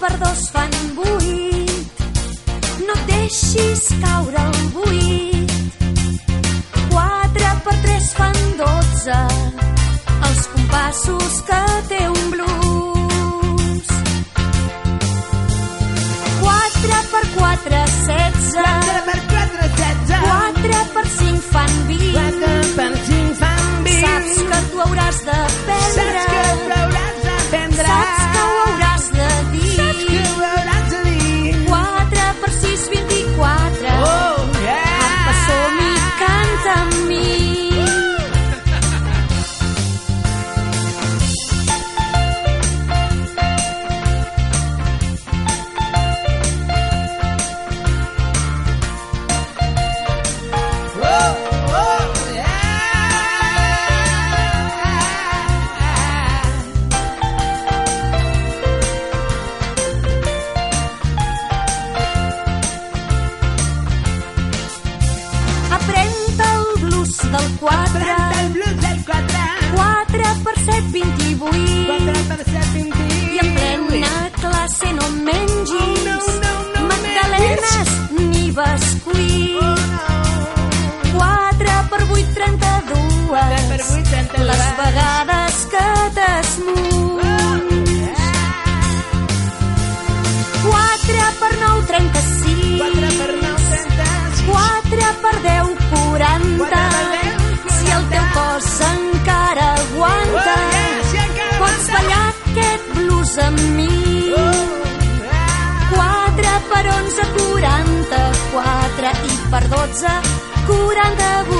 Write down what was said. verdors fan buit. No et deixis caure al buit. 4 per 3 fan 12. Els compassos que té un blues. 4 per 4, 16. 4 per 4, 16. 4 per 5 fan 20. 4 per 5 fan 20. Saps que tu hauràs Saps que ho d'aprendre. veuràs a prendre. Saps que ho hauràs de Saps que dir. ho veuràs a dir. 4 per 6, 24. Oh, yeah. Apa, som-hi, canta amb mi. Oh, oh, yeah. Aprèn-te el blues del 4. Prenta el blues del 4. 4 per 7, 28. 4 per 7, 20. I en plena classe no mengis Oh, no, no, no magdalenes ni Oh, bescuits. no. 4 per 8, 32. Quatre per vuit, trenta-dues. Les vegades que t'esmuts. Ah. 4 per 9, 36. Quatre per nou, trenta-sis. 4 per 10, 40. Quatre per deu, Si el teu 40. cos encara Oh, aguanta, yeah, si encara pots aguanta. ballar aquest blues amb mi. Oh, ah. 4 per 11, 44. I per 12, 48.